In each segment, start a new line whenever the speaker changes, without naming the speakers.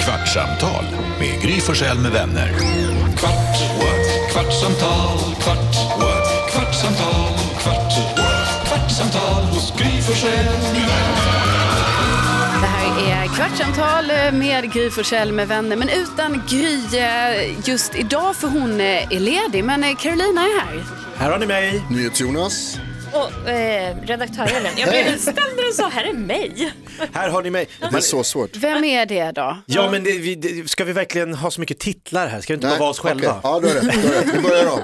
Kvartsamtal med Gry Forssell med vänner. Kvart, what? kvartsamtal, kvart, what? kvartsamtal, kvart, what? kvartsamtal hos Gry Forssell med vänner.
Det här är Kvartsamtal med Gry Forssell med vänner, men utan Gry eh, just idag för hon eh, är ledig. Men eh, Carolina är här.
Här har ni mig.
NyhetsJonas.
Och eh, redaktör Elin, jag blev ställd när du sa här är mig.
Här har ni mig.
Det är så svårt.
Vem är det då?
Ja men det, vi, det, ska vi verkligen ha så mycket titlar här? Ska vi inte bara vara oss
okej.
själva?
Ja, du har rätt. Du har rätt. Vi börjar om.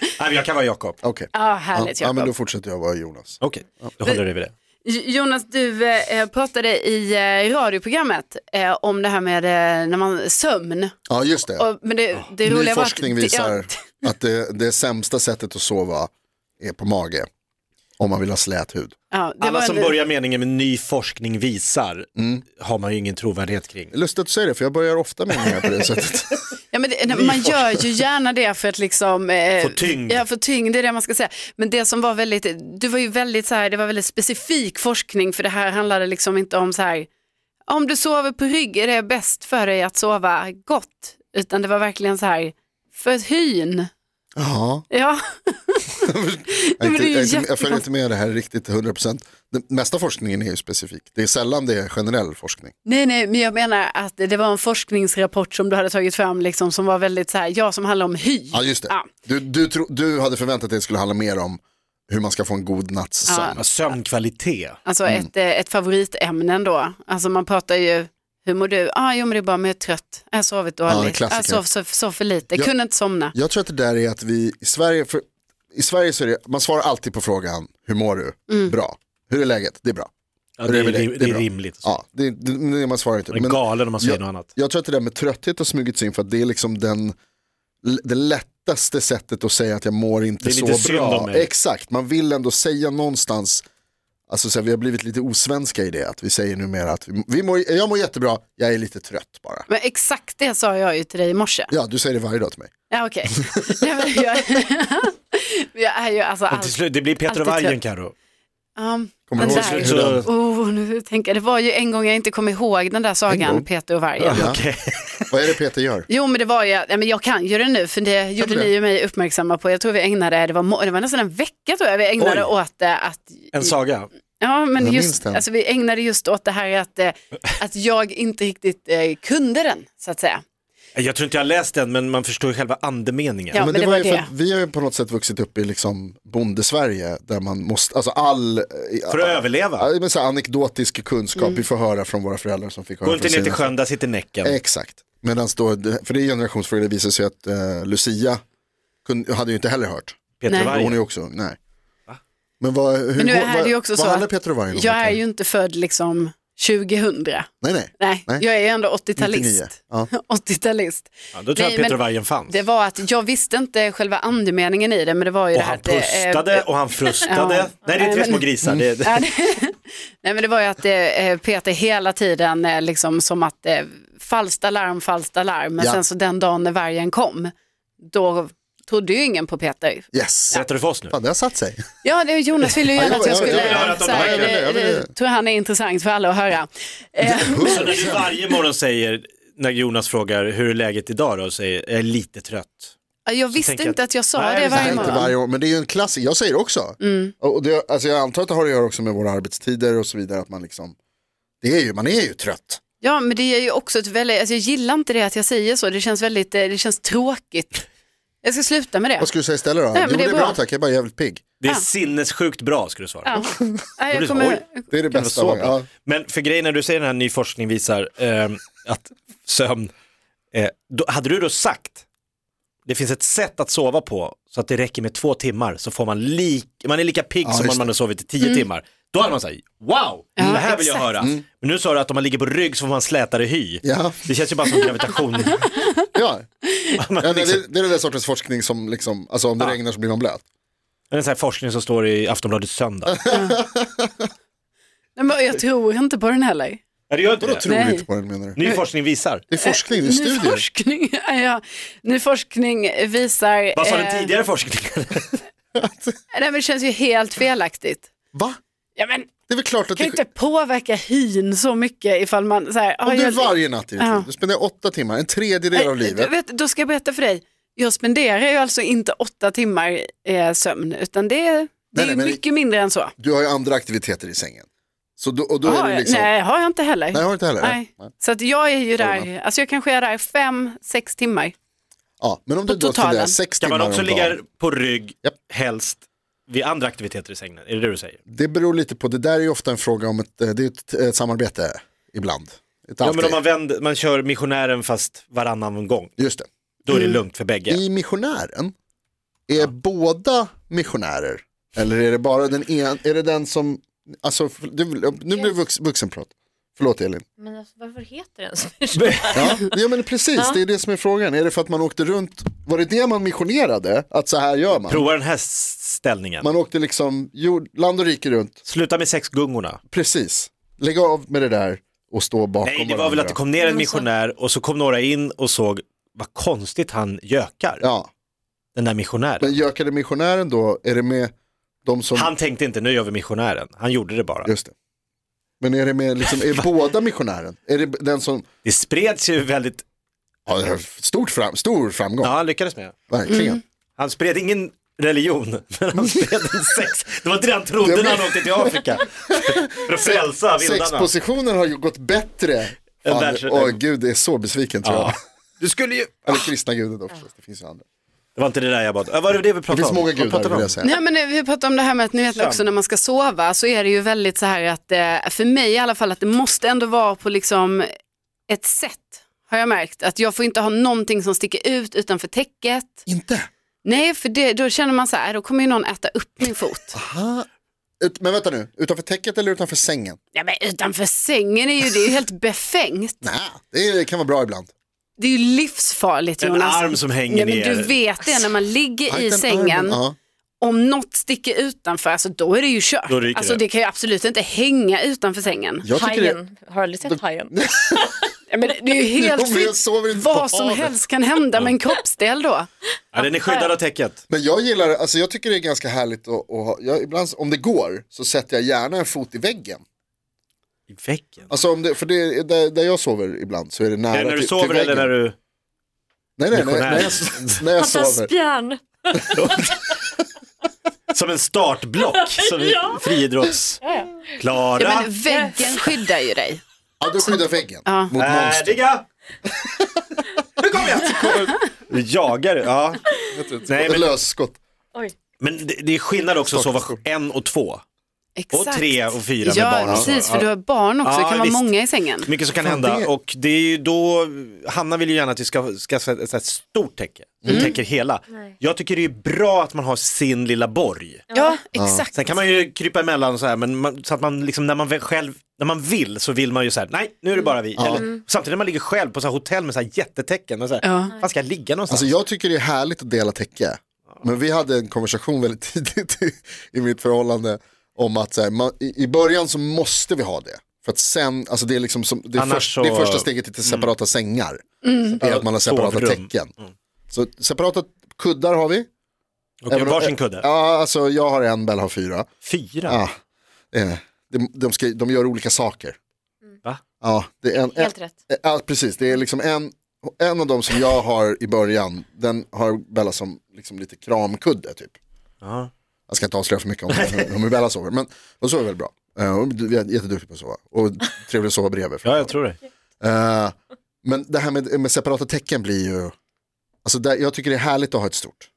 Nej, men jag kan vara Jakob.
Okej.
Ja, härligt,
ja, ja, men då
Jakob.
fortsätter jag vara Jonas.
Okej, då håller vi vid det.
J- Jonas, du eh, pratade i eh, radioprogrammet eh, om det här med eh, när man sömn.
Ja, just det.
Och, men det, det roliga
Ny
var att-
forskning
det- ja,
visar att det, det sämsta sättet att sova är på mage. Om man vill ha slät hud.
Ja, det
Alla
var
som
en-
börjar meningen med ny forskning visar
Mm.
har man ju ingen trovärdighet kring.
Det är Lustigt att du säger det, för jag börjar ofta med meningar på det sättet.
Ja, men det, man gör ju gärna det för att liksom, eh,
Få tyngd.
Ja, få tyngd, det är det man ska säga. Men det som var väldigt, du var ju väldigt så här, det var väldigt specifik forskning för det här handlade liksom inte om så här, om du sover på rygg är det bäst för dig att sova gott, utan det var verkligen så här, för ett hyn.
Ja,
Ja,
jag, är
men
inte,
det är ju
jag, är inte, jag
jättekonstigt.
följer inte med det här riktigt 100%. Den mesta forskningen är ju specifik. Det är sällan det är generell forskning.
nej, nej, men jag menar att det var en forskningsrapport som du hade tagit fram liksom, som var väldigt så här, ja, som handlar om hy.
Ja, just det.
Ja.
Du, du, tro, du hade förväntat dig att det skulle handla mer om hur man ska få en god natts sömn.
Ja, Sömnkvalitet.
Alltså
Mm.
ett, eh, ett favoritämne ändå. Alltså man pratar ju, hur mår du? Ah, jo men det är bara, men jag är trött. Jag har sovit
en
dåligt. jag
klassiker.
sov, sov, sov för lite,
Ja.
kunde inte somna.
Jag tror att det där är att vi i Sverige, för, i Sverige så är det, man svarar alltid på frågan, hur mår du? Bra. Hur är läget? Det är bra.
Ja,
Hur
det, är,
med dig?
rim- det är
bra.
rimligt.
Ja, det, det, det man svarar inte.
Men galen om man säger
jag,
något annat.
Jag tror att det där med trötthet har smugits in för att det är liksom den, det lättaste sättet att säga att jag mår inte
Det är
så
lite synd om
bra.
mig.
Exakt, man vill ändå säga någonstans, alltså så här, vi har blivit lite osvenska i det, att vi säger numera att vi, vi mår, jag mår jättebra, jag är lite trött bara.
Men exakt det sa jag ju till dig i morse.
Ja, du säger det varje dag till mig.
Ja okej. Nej, men jag, jag är ju alltså
Men till
allt.
slut, det blir Peter
alltid
och Vargen
trött.
Carro.
Um,
Kommer
den
du ihåg
där.
hur den-
Oh, nu tänker jag, det var ju en gång jag inte kom ihåg den där
En gång?
sagan, Peter och vargen.
Ja.
Okej.
Vad är det Peter gör?
Jo men det var ju, ja, men jag kan ju det nu för det gjorde
du det?
ni ju mig uppmärksamma på. Jag tror vi ägnade, det var, må- det var nästan en vecka tror jag vi ägnade
Oj.
åt det att
En saga.
Ja, men
Jag minns
just,
den.
alltså, vi ägnade just åt det här att, eh, att jag inte riktigt eh, kunde den, så att säga.
Jag tror inte jag har läst den men man förstår ju själva andemeningen.
Ja.
men,
men
det,
det
var
var
ju
det.
för att vi har ju på något sätt vuxit upp i liksom bondesverige där man måste, alltså all,
För att överleva.
ja, men så här anekdotisk kunskap
Mm.
vi får höra från våra föräldrar som fick höra
Gå inte
från
ner till
sina-
sjön, där sitter Näcken.
Exakt, medan då, för det är generationsfråga, det visar sig att eh, Lucia kun, hade ju inte heller hört,
Peter
Nej.
och
Och hon är
Vargen.
ju också ung, nej. Men vad, hur,
Men nu
går-
är
vad,
det ju också
vad
så
handlar
att
Peter och Vargen om?
Jag är
egentligen?
ju inte född liksom 2000.
Nej, nej.
Nej,
Nej.
jag är ju ändå
99.
80-talist.
Ja.
80-talist.
Ja, då tror
Nej,
jag att Peter
men
och Vargen fanns.
Det var att jag visste inte själva andemeningen i det, men det var ju
Och
det här
han
att det, eh,
pustade och han frustade.
Ja.
Nej, det är tre små grisar. Det, det.
Ja, det- Nej men det var ju att eh, Peter hela tiden eh, liksom som att eh, falskt alarm, falskt alarm. Men
Ja.
sen så den dagen när vargen kom, då trodde ju ingen på Peter.
Yes,
Mm.
Berättar du för oss nu?
fan det har satt sig.
Ja, det, Jonas ville ju
Ja,
gärna
jag-
att jag
jag-
skulle,
jag vill
höra att de
så här,
verkligen-
det,
jag vill-
det tror han är intressant för alla att höra. Eh,
Så när du varje morgon säger, när Jonas frågar hur är läget idag då, och säger jag är lite trött.
jag visste
tänker jag-
inte att jag sa
Nej,
det
jag visste
varje
Nej, inte
morgon.
varje år, men det är ju en klassiker. Jag säger det också. Och och det, alltså jag antar att det har att göra också med våra arbetstider och så vidare. Att man, liksom, det är ju, man är ju trött.
Ja, men det är ju också ett väldigt, alltså jag gillar inte det att jag säger så, det känns väldigt, eh, det känns tråkigt. Jag ska sluta med det.
Vad ska du säga istället då?
Nej, men
jo, det är bra. tack, jag är bara jävligt pigg.
Det är
Ja.
sinnessjukt bra skulle du svara.
Ja. Nej,
blir
jag
så,
kommer,
oj.
Det är det
Kan vara
bästa.
så
av-
bra.
ja.
Men för grejen när du säger den här ny forskning visar ehm, att sömn, eh, då, hade du då sagt det finns ett sätt att sova på så att det räcker med två timmar så får man, lik, man är lika pigg
Ja,
som
just
om man
det.
har sovit i tio timmar. Då hade man sagt wow,
Mm. Ja,
det här vill jag
exakt.
höra.
Mm.
Men nu sa du att om man ligger på rygg så får man slätare hy.
Ja.
Det känns ju bara som gravitation.
Ja.
Man
Ja, nej,
liksom-
det, det är den där sortens forskning som, liksom, alltså om det regnar så blir man blöt.
Det är en sån här forskning som står i Aftonbladet söndag.
nej, men jag tror inte på den heller.
Ja, det gör inte
Vadå
det.
tror du
Nej. Eh,
inte på den menar du?
Ny forskning visar.
Det är forskning, det är
Ny
studier.
forskning, ja, ny forskning visar...
Vad sa
eh,
den tidigare forskningen?
Nej, men det känns ju helt felaktigt.
Va?
Ja, men,
Det är väl klart att
kan
det
ju inte påverka hyn så mycket ifall man så här, ah,
Om du
jag-
varje natt i ditt
Ja.
liv, du spenderar åtta timmar, en tredjedel av
Nej,
livet.
Vet, då ska jag berätta för dig, jag spenderar ju alltså inte åtta timmar eh, sömn utan det, är- det
Nej,
är
nej,
ju
men-
mycket mindre än så.
Du har ju andra aktiviteter i sängen. Så då, och då
Har
är det
jag-
liksom, nej,
Nej, har jag inte heller.
har du inte heller?
Nej. Så att jag är ju där, alltså jag kanske är där fem, sex timmar.
Ja, men om du
På
då
totalen.
spenderar sex
Kan
timmar
man också
om dagen,
ligga på rygg,
Japp.
helst vid andra aktiviteter i sängen? Är det det du säger?
det beror lite på, det där är ju ofta en fråga om ett, eh, det är ett, ett samarbete ibland. Ett
Ja, men om
alltid.
man, vänder, man kör missionären fast varannan gång,
Just det.
då är det lugnt för bägge.
Mm. I missionären, är båda missionärer? Eller är det bara den en, är det den som, alltså, f- du, nu blir det vux, vuxenprat. Förlåt Elin.
Men alltså, varför heter den så?
Ja, ja men precis, det är det som är frågan. Är det för att man åkte runt, var det det man missionerade? Att så här gör man?
Prova den här s- ställningen.
Man åkte liksom jord, land och rike runt,
Sluta med sexgungorna.
precis. Lägg av med det där och stå bakom
Nej, det var
varandra.
väl att det kom ner en
Men alltså-
missionär och så kom några in och såg vad konstigt han gökar,
Ja,
den där missionären.
men gökade missionären då, är det med de som,
Han tänkte inte, nu gör vi missionären. Han gjorde det bara.
just det. Men är det med, liksom, är båda missionären? Är det den som,
Det spreds ju väldigt,
ja, det här är stort fram, stor framgång,
ja Mm. han lyckades med.
verkligen.
Han spred ingen religion, men han spred en sex. Det var inte det han trodde när han åkte till Afrika. För att frälsa vindarna.
Sexpositionen har ju gått bättre.
Än
Fan,
världs-
Åh gud, det är så besviken tror jag.
Ja. Du skulle ju...
Eller kristna guden då förstås, det finns ju andra.
Det var inte det där jag bad. Äh, Vad är det vi
Det
pratade
finns
om?
många
Vad
gudar
pratade vi om?
vill jag säga.
Nej men eh, vi pratade om det här med att ni vet
Sömn.
också när man ska sova så är det ju väldigt så här att, eh, för mig i alla fall, att det måste ändå vara på liksom ett sätt har jag märkt. Att jag får inte ha någonting som sticker ut utanför täcket.
Inte?
Nej, för det, då känner man så här, "Äh, då kommer ju någon äta upp min fot.
Aha. Ut, men vänta nu, utanför täcket eller utanför sängen?
Ja, men utanför sängen är ju det är ju helt befängt.
Nej, det kan vara bra ibland.
Det är ju livsfarligt
En
Jonas.
arm som hänger
Nej, men
ner.
Du vet det när man ligger i
Tighten
sängen,
armen, ja.
om något sticker utanför, alltså, då är det ju kört.
Då ryker
alltså,
det.
det kan ju absolut inte hänga utanför sängen.
Jag tycker det,
Hajen, har du aldrig sett hajen?
Ja, men det är ju helt
Jo, men jag
fritt,
sover inte på
vad som
havet.
helst kan hända med en kroppsdel då.
Ja, den är skyddad av täcket.
men jag gillar det, alltså jag tycker det är ganska härligt att, att ha, jag, ibland om det går så sätter jag gärna en fot i väggen.
I väggen?
Alltså om det, för det, är- där, där jag sover ibland så är det nära
Är det när
typ till,
du
till
sover eller när
väggen.
du...
Nej, nej, nej, när jag, när jag Eh.
Fattas
sover.
björn.
Som en startblock, som i friidrotts... Klara!
Ja, men väggen skyddar ju dig.
Ja, du skyddar väggen mot monster.
Färdiga! nu kommer jag! Jagar, ja. Nej,
Ett
men,
lösskott.
Oj.
men det, det är skillnad också att sova en och två.
Exakt.
tre och fyra med
ja,
barn
Ja,
och så.
precis, för
Ja.
du har barn också,
Ja,
det kan vara
visst.
många i sängen.
Mycket som kan
Fan,
hända
det-
och det är ju då, Hanna vill ju gärna att vi ska, ska sätta ett sånt här stort täcke som
Mm.
täcker hela.
Nej.
Jag tycker det är bra att man har sin lilla borg.
Ja, exakt.
Sen kan man ju krypa emellan och så här, men man, så att man liksom när man väl själv, när man vill så vill man ju så här, nej nu är det bara vi.
Mm.
Eller, samtidigt när man ligger själv på så här hotell med så här jättetecken, men så här,
Ja.
fan ska jag ligga någonstans?
Alltså jag tycker det är härligt att dela täcke. Men vi hade en konversation väldigt tidigt i, i mitt förhållande om att så här, man, i, i början så måste vi ha det. För att sen, alltså det är liksom som, det, är
Annars
först,
så- Mm.
det är första steget till separata sängar. Det är att man har separata
Sovrum. Mm.
täcken. Så separata kuddar har vi.
Okej,
Även om-
varsin kudde.
Ja, alltså jag har en, Bell har fyra.
Fyra?
Ja, det är- de, de, ska, de gör olika saker.
Va?
Ja, det är en, en,
Helt rätt.
Ja, precis. Det är liksom en, en av dem som jag har i början, den har Bella som liksom lite kramkudde typ.
Ja.
Jag ska inte avslöja för mycket om hur- om hur Bella sover, men hon sover väl bra. Eh, Hon är jätteduktig på att sova och trevlig att sova bredvid.
Ja, jag tror det.
Eh, Men det här med, med separata tecken blir ju, alltså där, jag tycker det är härligt att ha ett stort,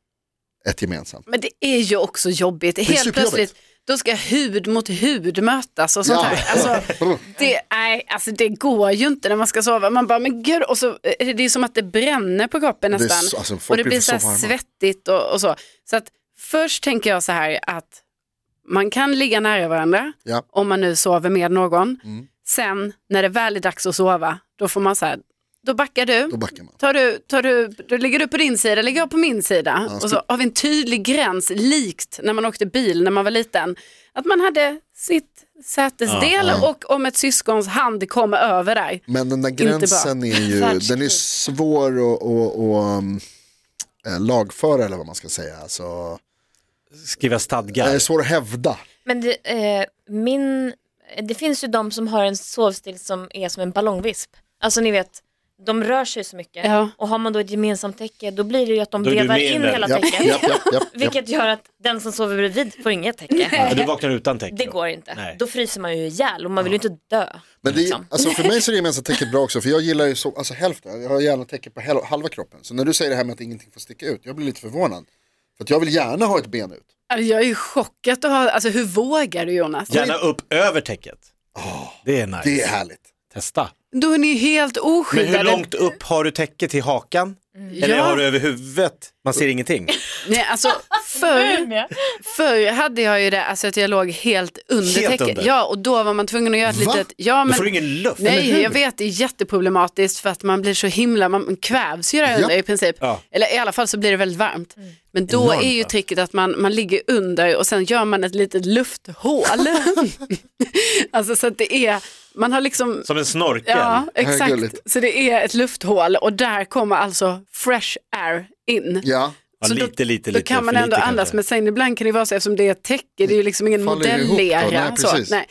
ett gemensamt.
Men det är ju också jobbigt. Helt
superjobbigt.
plötsligt, då ska hud mot hud mötas och sånt
Ja.
här. Alltså, det, nej, alltså, det går ju inte när man ska sova. Man bara, men gud, och så, är det det är som att det bränner på kroppen
Det är
nästan.
så- alltså, folk
och det
blir
blir
så
så här
varma.
svettigt och, och så. Så att först tänker jag så här att man kan ligga nära varandra
Ja.
om man nu sover med någon.
Mm.
Sen när det väl är dags att sova, då får man så här, då backar du.
Då backar man.
Tar du, tar du, då ligger du på din sida, ligger jag på min sida. och så har vi en tydlig gräns, likt när man åkte bil när man var liten. Att man hade sitt sätesdel och om ett syskons hand kommer över där.
Men den där
Inte bra.
gränsen är ju,
Världskrig.
den är svår att och, och, um, eh, lagföra eller vad man ska säga. Alltså,
Skriva
det är
stadgar.
svår att hävda.
Men det, eh, min det finns ju de som har en sovstil som är som en ballongvisp. Alltså ni vet, de rör sig så mycket.
Ja.
Och har man då ett gemensamt täcke, då blir det ju att de
Då är du
vevar
med i
in
den.
hela
Japp,
täcket.
japp, japp, japp, japp.
Vilket gör att den som sover bredvid får inget täcke.
Ja, du vaknar utan täcke.
Det
då.
går inte.
Nej.
Då fryser man ju ihjäl och man vill ju inte dö.
Men det,
liksom.
alltså för mig så är det gemensamma täcket bra också, för jag gillar ju så, alltså hälften, jag har gärna täcke på hel- halva kroppen. Så när du säger det här med att ingenting får sticka ut, jag blir lite förvånad. För att jag vill gärna ha ett ben ut.
Alltså, jag är ju chockad att ha, alltså hur vågar du Jonas?
Gärna upp över täcket. det är nice.
Det är härligt.
Testa.
Då är ni ju helt
Men
oskyddade.
hur långt upp har du täcket till hakan? Eller
Mm. Ja.
har du över huvudet? Man ser ingenting.
Nej, alltså förr, förr hade jag ju det, alltså att jag låg helt under
Helt
täcket.
under?
Ja, och då var man tvungen att göra ett
Va?
litet... Ja,
Då
men,
får du ingen luft.
nej, jag vet, det är jätteproblematiskt för att man blir så himla, man kvävs ju där under i princip.
Ja.
Eller i alla fall så blir det väldigt varmt. Men då
Enormt,
är ju
va?
tricket att man, man ligger under och sen gör man ett litet lufthål. alltså så att det är, man har liksom...
Som en snorkel.
Ja,
Här är
exakt.
gulligt.
Så det är ett lufthål och där kommer alltså fresh air in.
Ja,
Ja,
Så
lite,
då,
lite, lite.
då kan man
för
ändå
lite
andas,
kanske.
men sen ibland kan det vara så eftersom det är ett täcke, det är ju liksom ingen
Faller det ihop då?
modellera.
Nej,
så,
precis.
nej.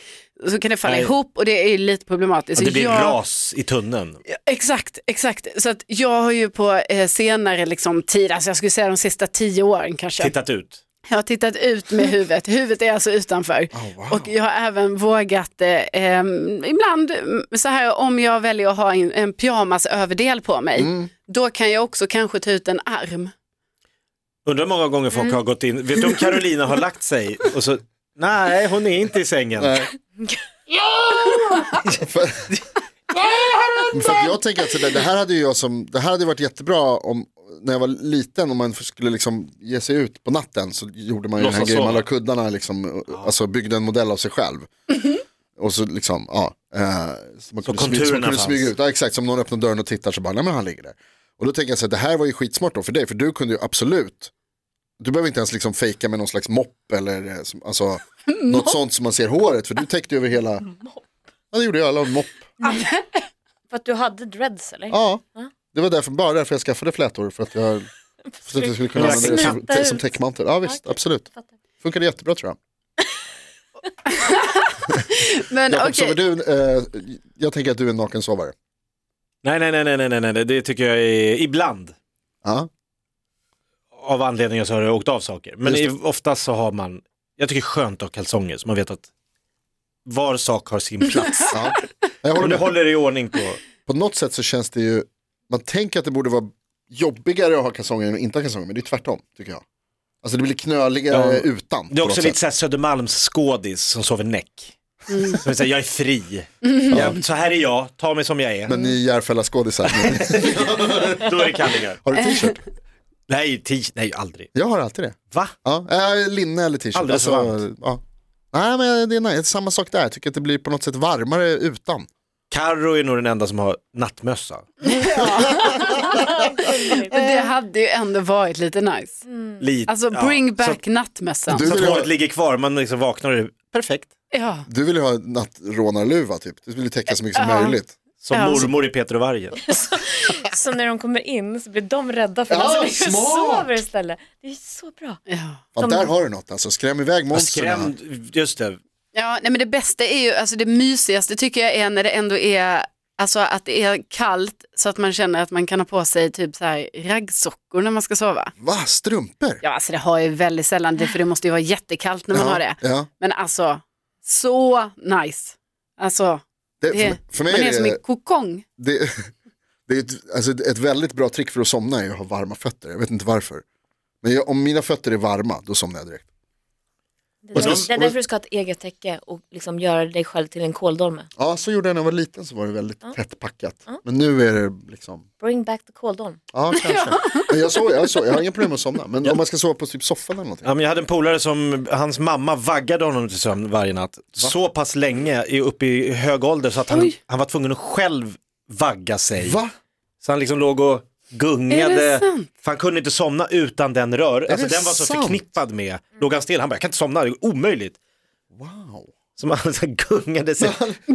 så kan det falla
Nej.
ihop och det är ju lite problematiskt.
Ja, det
Så
blir
jag-
ras i tunneln.
Exakt, exakt. Så att jag har ju på eh, senare liksom, tid, alltså jag skulle säga de sista tio åren kanske,
Tittat ut.
jag har tittat ut med huvudet. Huvudet är alltså utanför.
Oh, Ah.
Och jag har även vågat, eh, eh, ibland mm, så här om jag väljer att ha en, en pyjamasöverdel på mig,
Mm.
då kan jag också kanske ta ut en arm.
Undrar hur många gånger folk
Mm.
har gått in. Vet du om Carolina har lagt sig och så, nej hon är inte i sängen.
nej. för, för att jag tänker att så där, det här hade ju jag som, det här hade varit jättebra om, när jag var liten, om man skulle liksom ge sig ut på natten så gjorde man ju den här
Låtsas
grejen, man
sova.
la kuddarna liksom, alltså byggde en modell av sig själv. Och så liksom, ja. Eh, så man kunde, smyga, så man
konturerna
kunde
fanns.
smyga ut, ja, exakt, som någon öppnar dörren och tittar så bara, nej men han ligger där. Och då tänker jag så här, det här var ju skitsmart då för dig, för du kunde ju absolut, du behöver inte ens liksom fejka med någon slags mopp eller eh, som- alltså, något sånt som man ser håret, för du täckte ju över hela, ja det gjorde jag, alla mopp.
För att du hade dreads eller?
Ja, det var därför, bara därför jag skaffade flätor, för att jag, för att jag skulle kunna
Jag
använda det som,
knäppte ut.
som täckmantel. Ja visst,
Okej.
absolut.
Fattar.
Funkade jättebra tror jag.
Men
Jakob,
okej.
sover du, eh, jag tänker att du är en nakensovare.
Nej, nej, nej, nej, nej, nej, nej, det tycker jag är ibland.
Ja,
Av anledningar så har det åkt av saker. Men
Just
i, oftast så har man, jag tycker det är skönt att ha kalsonger så man vet att var sak har sin plats.
ja. Jag håller
Och du
med.
håller i ordning på
på något sätt så känns det ju, man tänker att det borde vara jobbigare att ha kalsonger än att inte ha kalsonger, men det är tvärtom tycker jag. Alltså det blir knöligare
Ja.
utan.
Det är
på
också
något
lite
sätt.
såhär Södermalmsskådis som sover näck.
Mm.
Som är såhär, jag är fri. Jag, så här är jag, ta mig som jag är.
Men ni Järfälla skådisar,
Då är det kallingar.
har du t-shirt?
Nej, t- nej aldrig.
Jag har alltid det.
Va?
Ja, äh, linne eller t-shirt. Alltså,
Alldeles för
ja. Nej men det är nice. samma sak där, jag tycker att det blir på något sätt varmare utan.
Carro är nog den enda som har nattmössa.
Mm. Men
Eh.
det hade ju ändå varit lite nice.
Lite.
Alltså
ja.
bring back
Mm. Så
nattmössan.
du-
Så, så att håret ligger kvar, man liksom vaknar och det är perfekt.
Ja.
Du vill ju ha nattrånarluva typ, du vill ju täcka så mycket som
Ja.
möjligt.
Som
Ja.
mormor i Peter och vargen.
Så när de kommer in så blir de rädda för
Ja,
den som ligger och
smart!
sover istället. Det är så bra.
Ja.
Fan,
Som-
där har du något alltså, skräm iväg
Och
monstren.
Skrämd, just det.
Ja, nej men det bästa är ju, alltså det mysigaste tycker jag är när det ändå är, alltså att det är kallt så att man känner att man kan ha på sig typ så här raggsockor när man ska sova.
Va, strumpor?
Ja, alltså det har jag ju väldigt sällan det, för det måste ju vara jättekallt när man har det.
Ja.
Men alltså, så nice. Alltså,
Det,
det,
för, för mig
man är,
är
som
det...
en kokong.
det, det är ett, alltså ett väldigt bra trick för att somna är att ha varma fötter. Jag vet inte varför. Men jag, om mina fötter är varma, då somnar jag direkt.
Det är,
Och
där,
så-
det är därför du ska ha ett eget täcke och liksom göra dig själv till en kåldolme.
Ja, så gjorde jag när jag var liten så var det väldigt tätt packat.
Ja.
Men nu är det liksom,
Bring back the kåldolm.
ja kanske. Men jag, sov, jag, sov, jag har inga problem med att somna. Men om man ska sova på typ soffan eller någonting.
Ja, men jag hade en polare som, hans mamma vaggade honom till sömn varje natt. Så pass länge, i- upp i hög ålder, så att han,
Oj.
han var tvungen att själv vagga sig.
Va?
Så han liksom låg och
Är det
gungade.
sant?
För han kunde inte somna utan den rör. Alltså
det
den var så
sant?
förknippad med, låg han still, han bara jag kan inte somna, det är omöjligt.
Wow.
Så han så här gungade sig.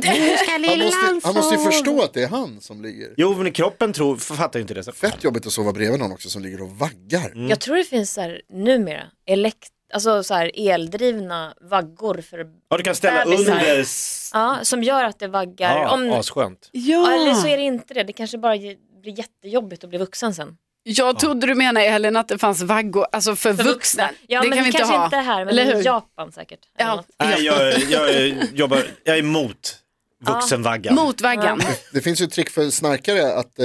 Han måste, han måste ju förstå att det är han som ligger.
Jo men kroppen tror, fattar ju inte det. Så.
Mm.
Mm. Fett jobbigt att sova bredvid någon också som ligger och vaggar.
Jag tror det finns så här, numera elekt, alltså så här eldrivna vaggor för
Ja, du kan ställa
Bebisar.
under. s-
Ja, som gör att det vaggar.
Ja,
om,
asskönt.
ja,
Ja,
eller så är det inte det. Det kanske bara ge- blir jättejobbigt att bli vuxen sen.
jag trodde du menade Elin att det fanns vaggor, alltså för,
För
vuxna.
Ja,
det
men
kan vi inte
det kanske
ha.
inte är här, men
Eller
i
hur?
Japan säkert. eller
Ja.
något.
Nej, jag, jag, jobbar, jag är emot vuxenvaggan.
Mot vaggan.
Det finns ju ett trick för snarkare att eh,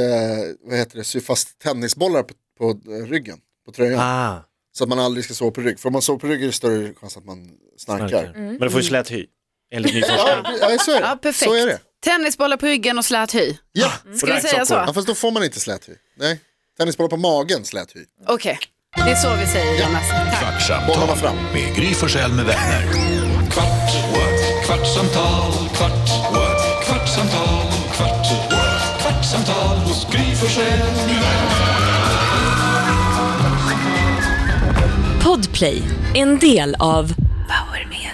vad heter det, sy fast tennisbollar på, på eh, ryggen, på tröjan.
Ah,
Så att man aldrig ska sova på rygg. För om man sover på rygg är det större chans att man snarkar.
verkar. Men du får ju slät hy. Enligt ny forskning.
Ja, ja, så är det.
Ja, perfekt. Mm.
Så är det.
Tennisbollar på ryggen och slät hy.
Ja.
Ska vi säga så?
ja, fast då får man inte slät hy. Nej, tennisbollar på magen slät hy.
Okej, det är så vi säger Jonas. Tack.
Bollarna
Kvartsamtal
fram.
med Gry Forssell med vänner. Kvart, what? kvartsamtal, kvart, what? kvartsamtal, kvart, what? kvartsamtal hos Gry Forssell med vänner.
Podplay, en del av Power Media.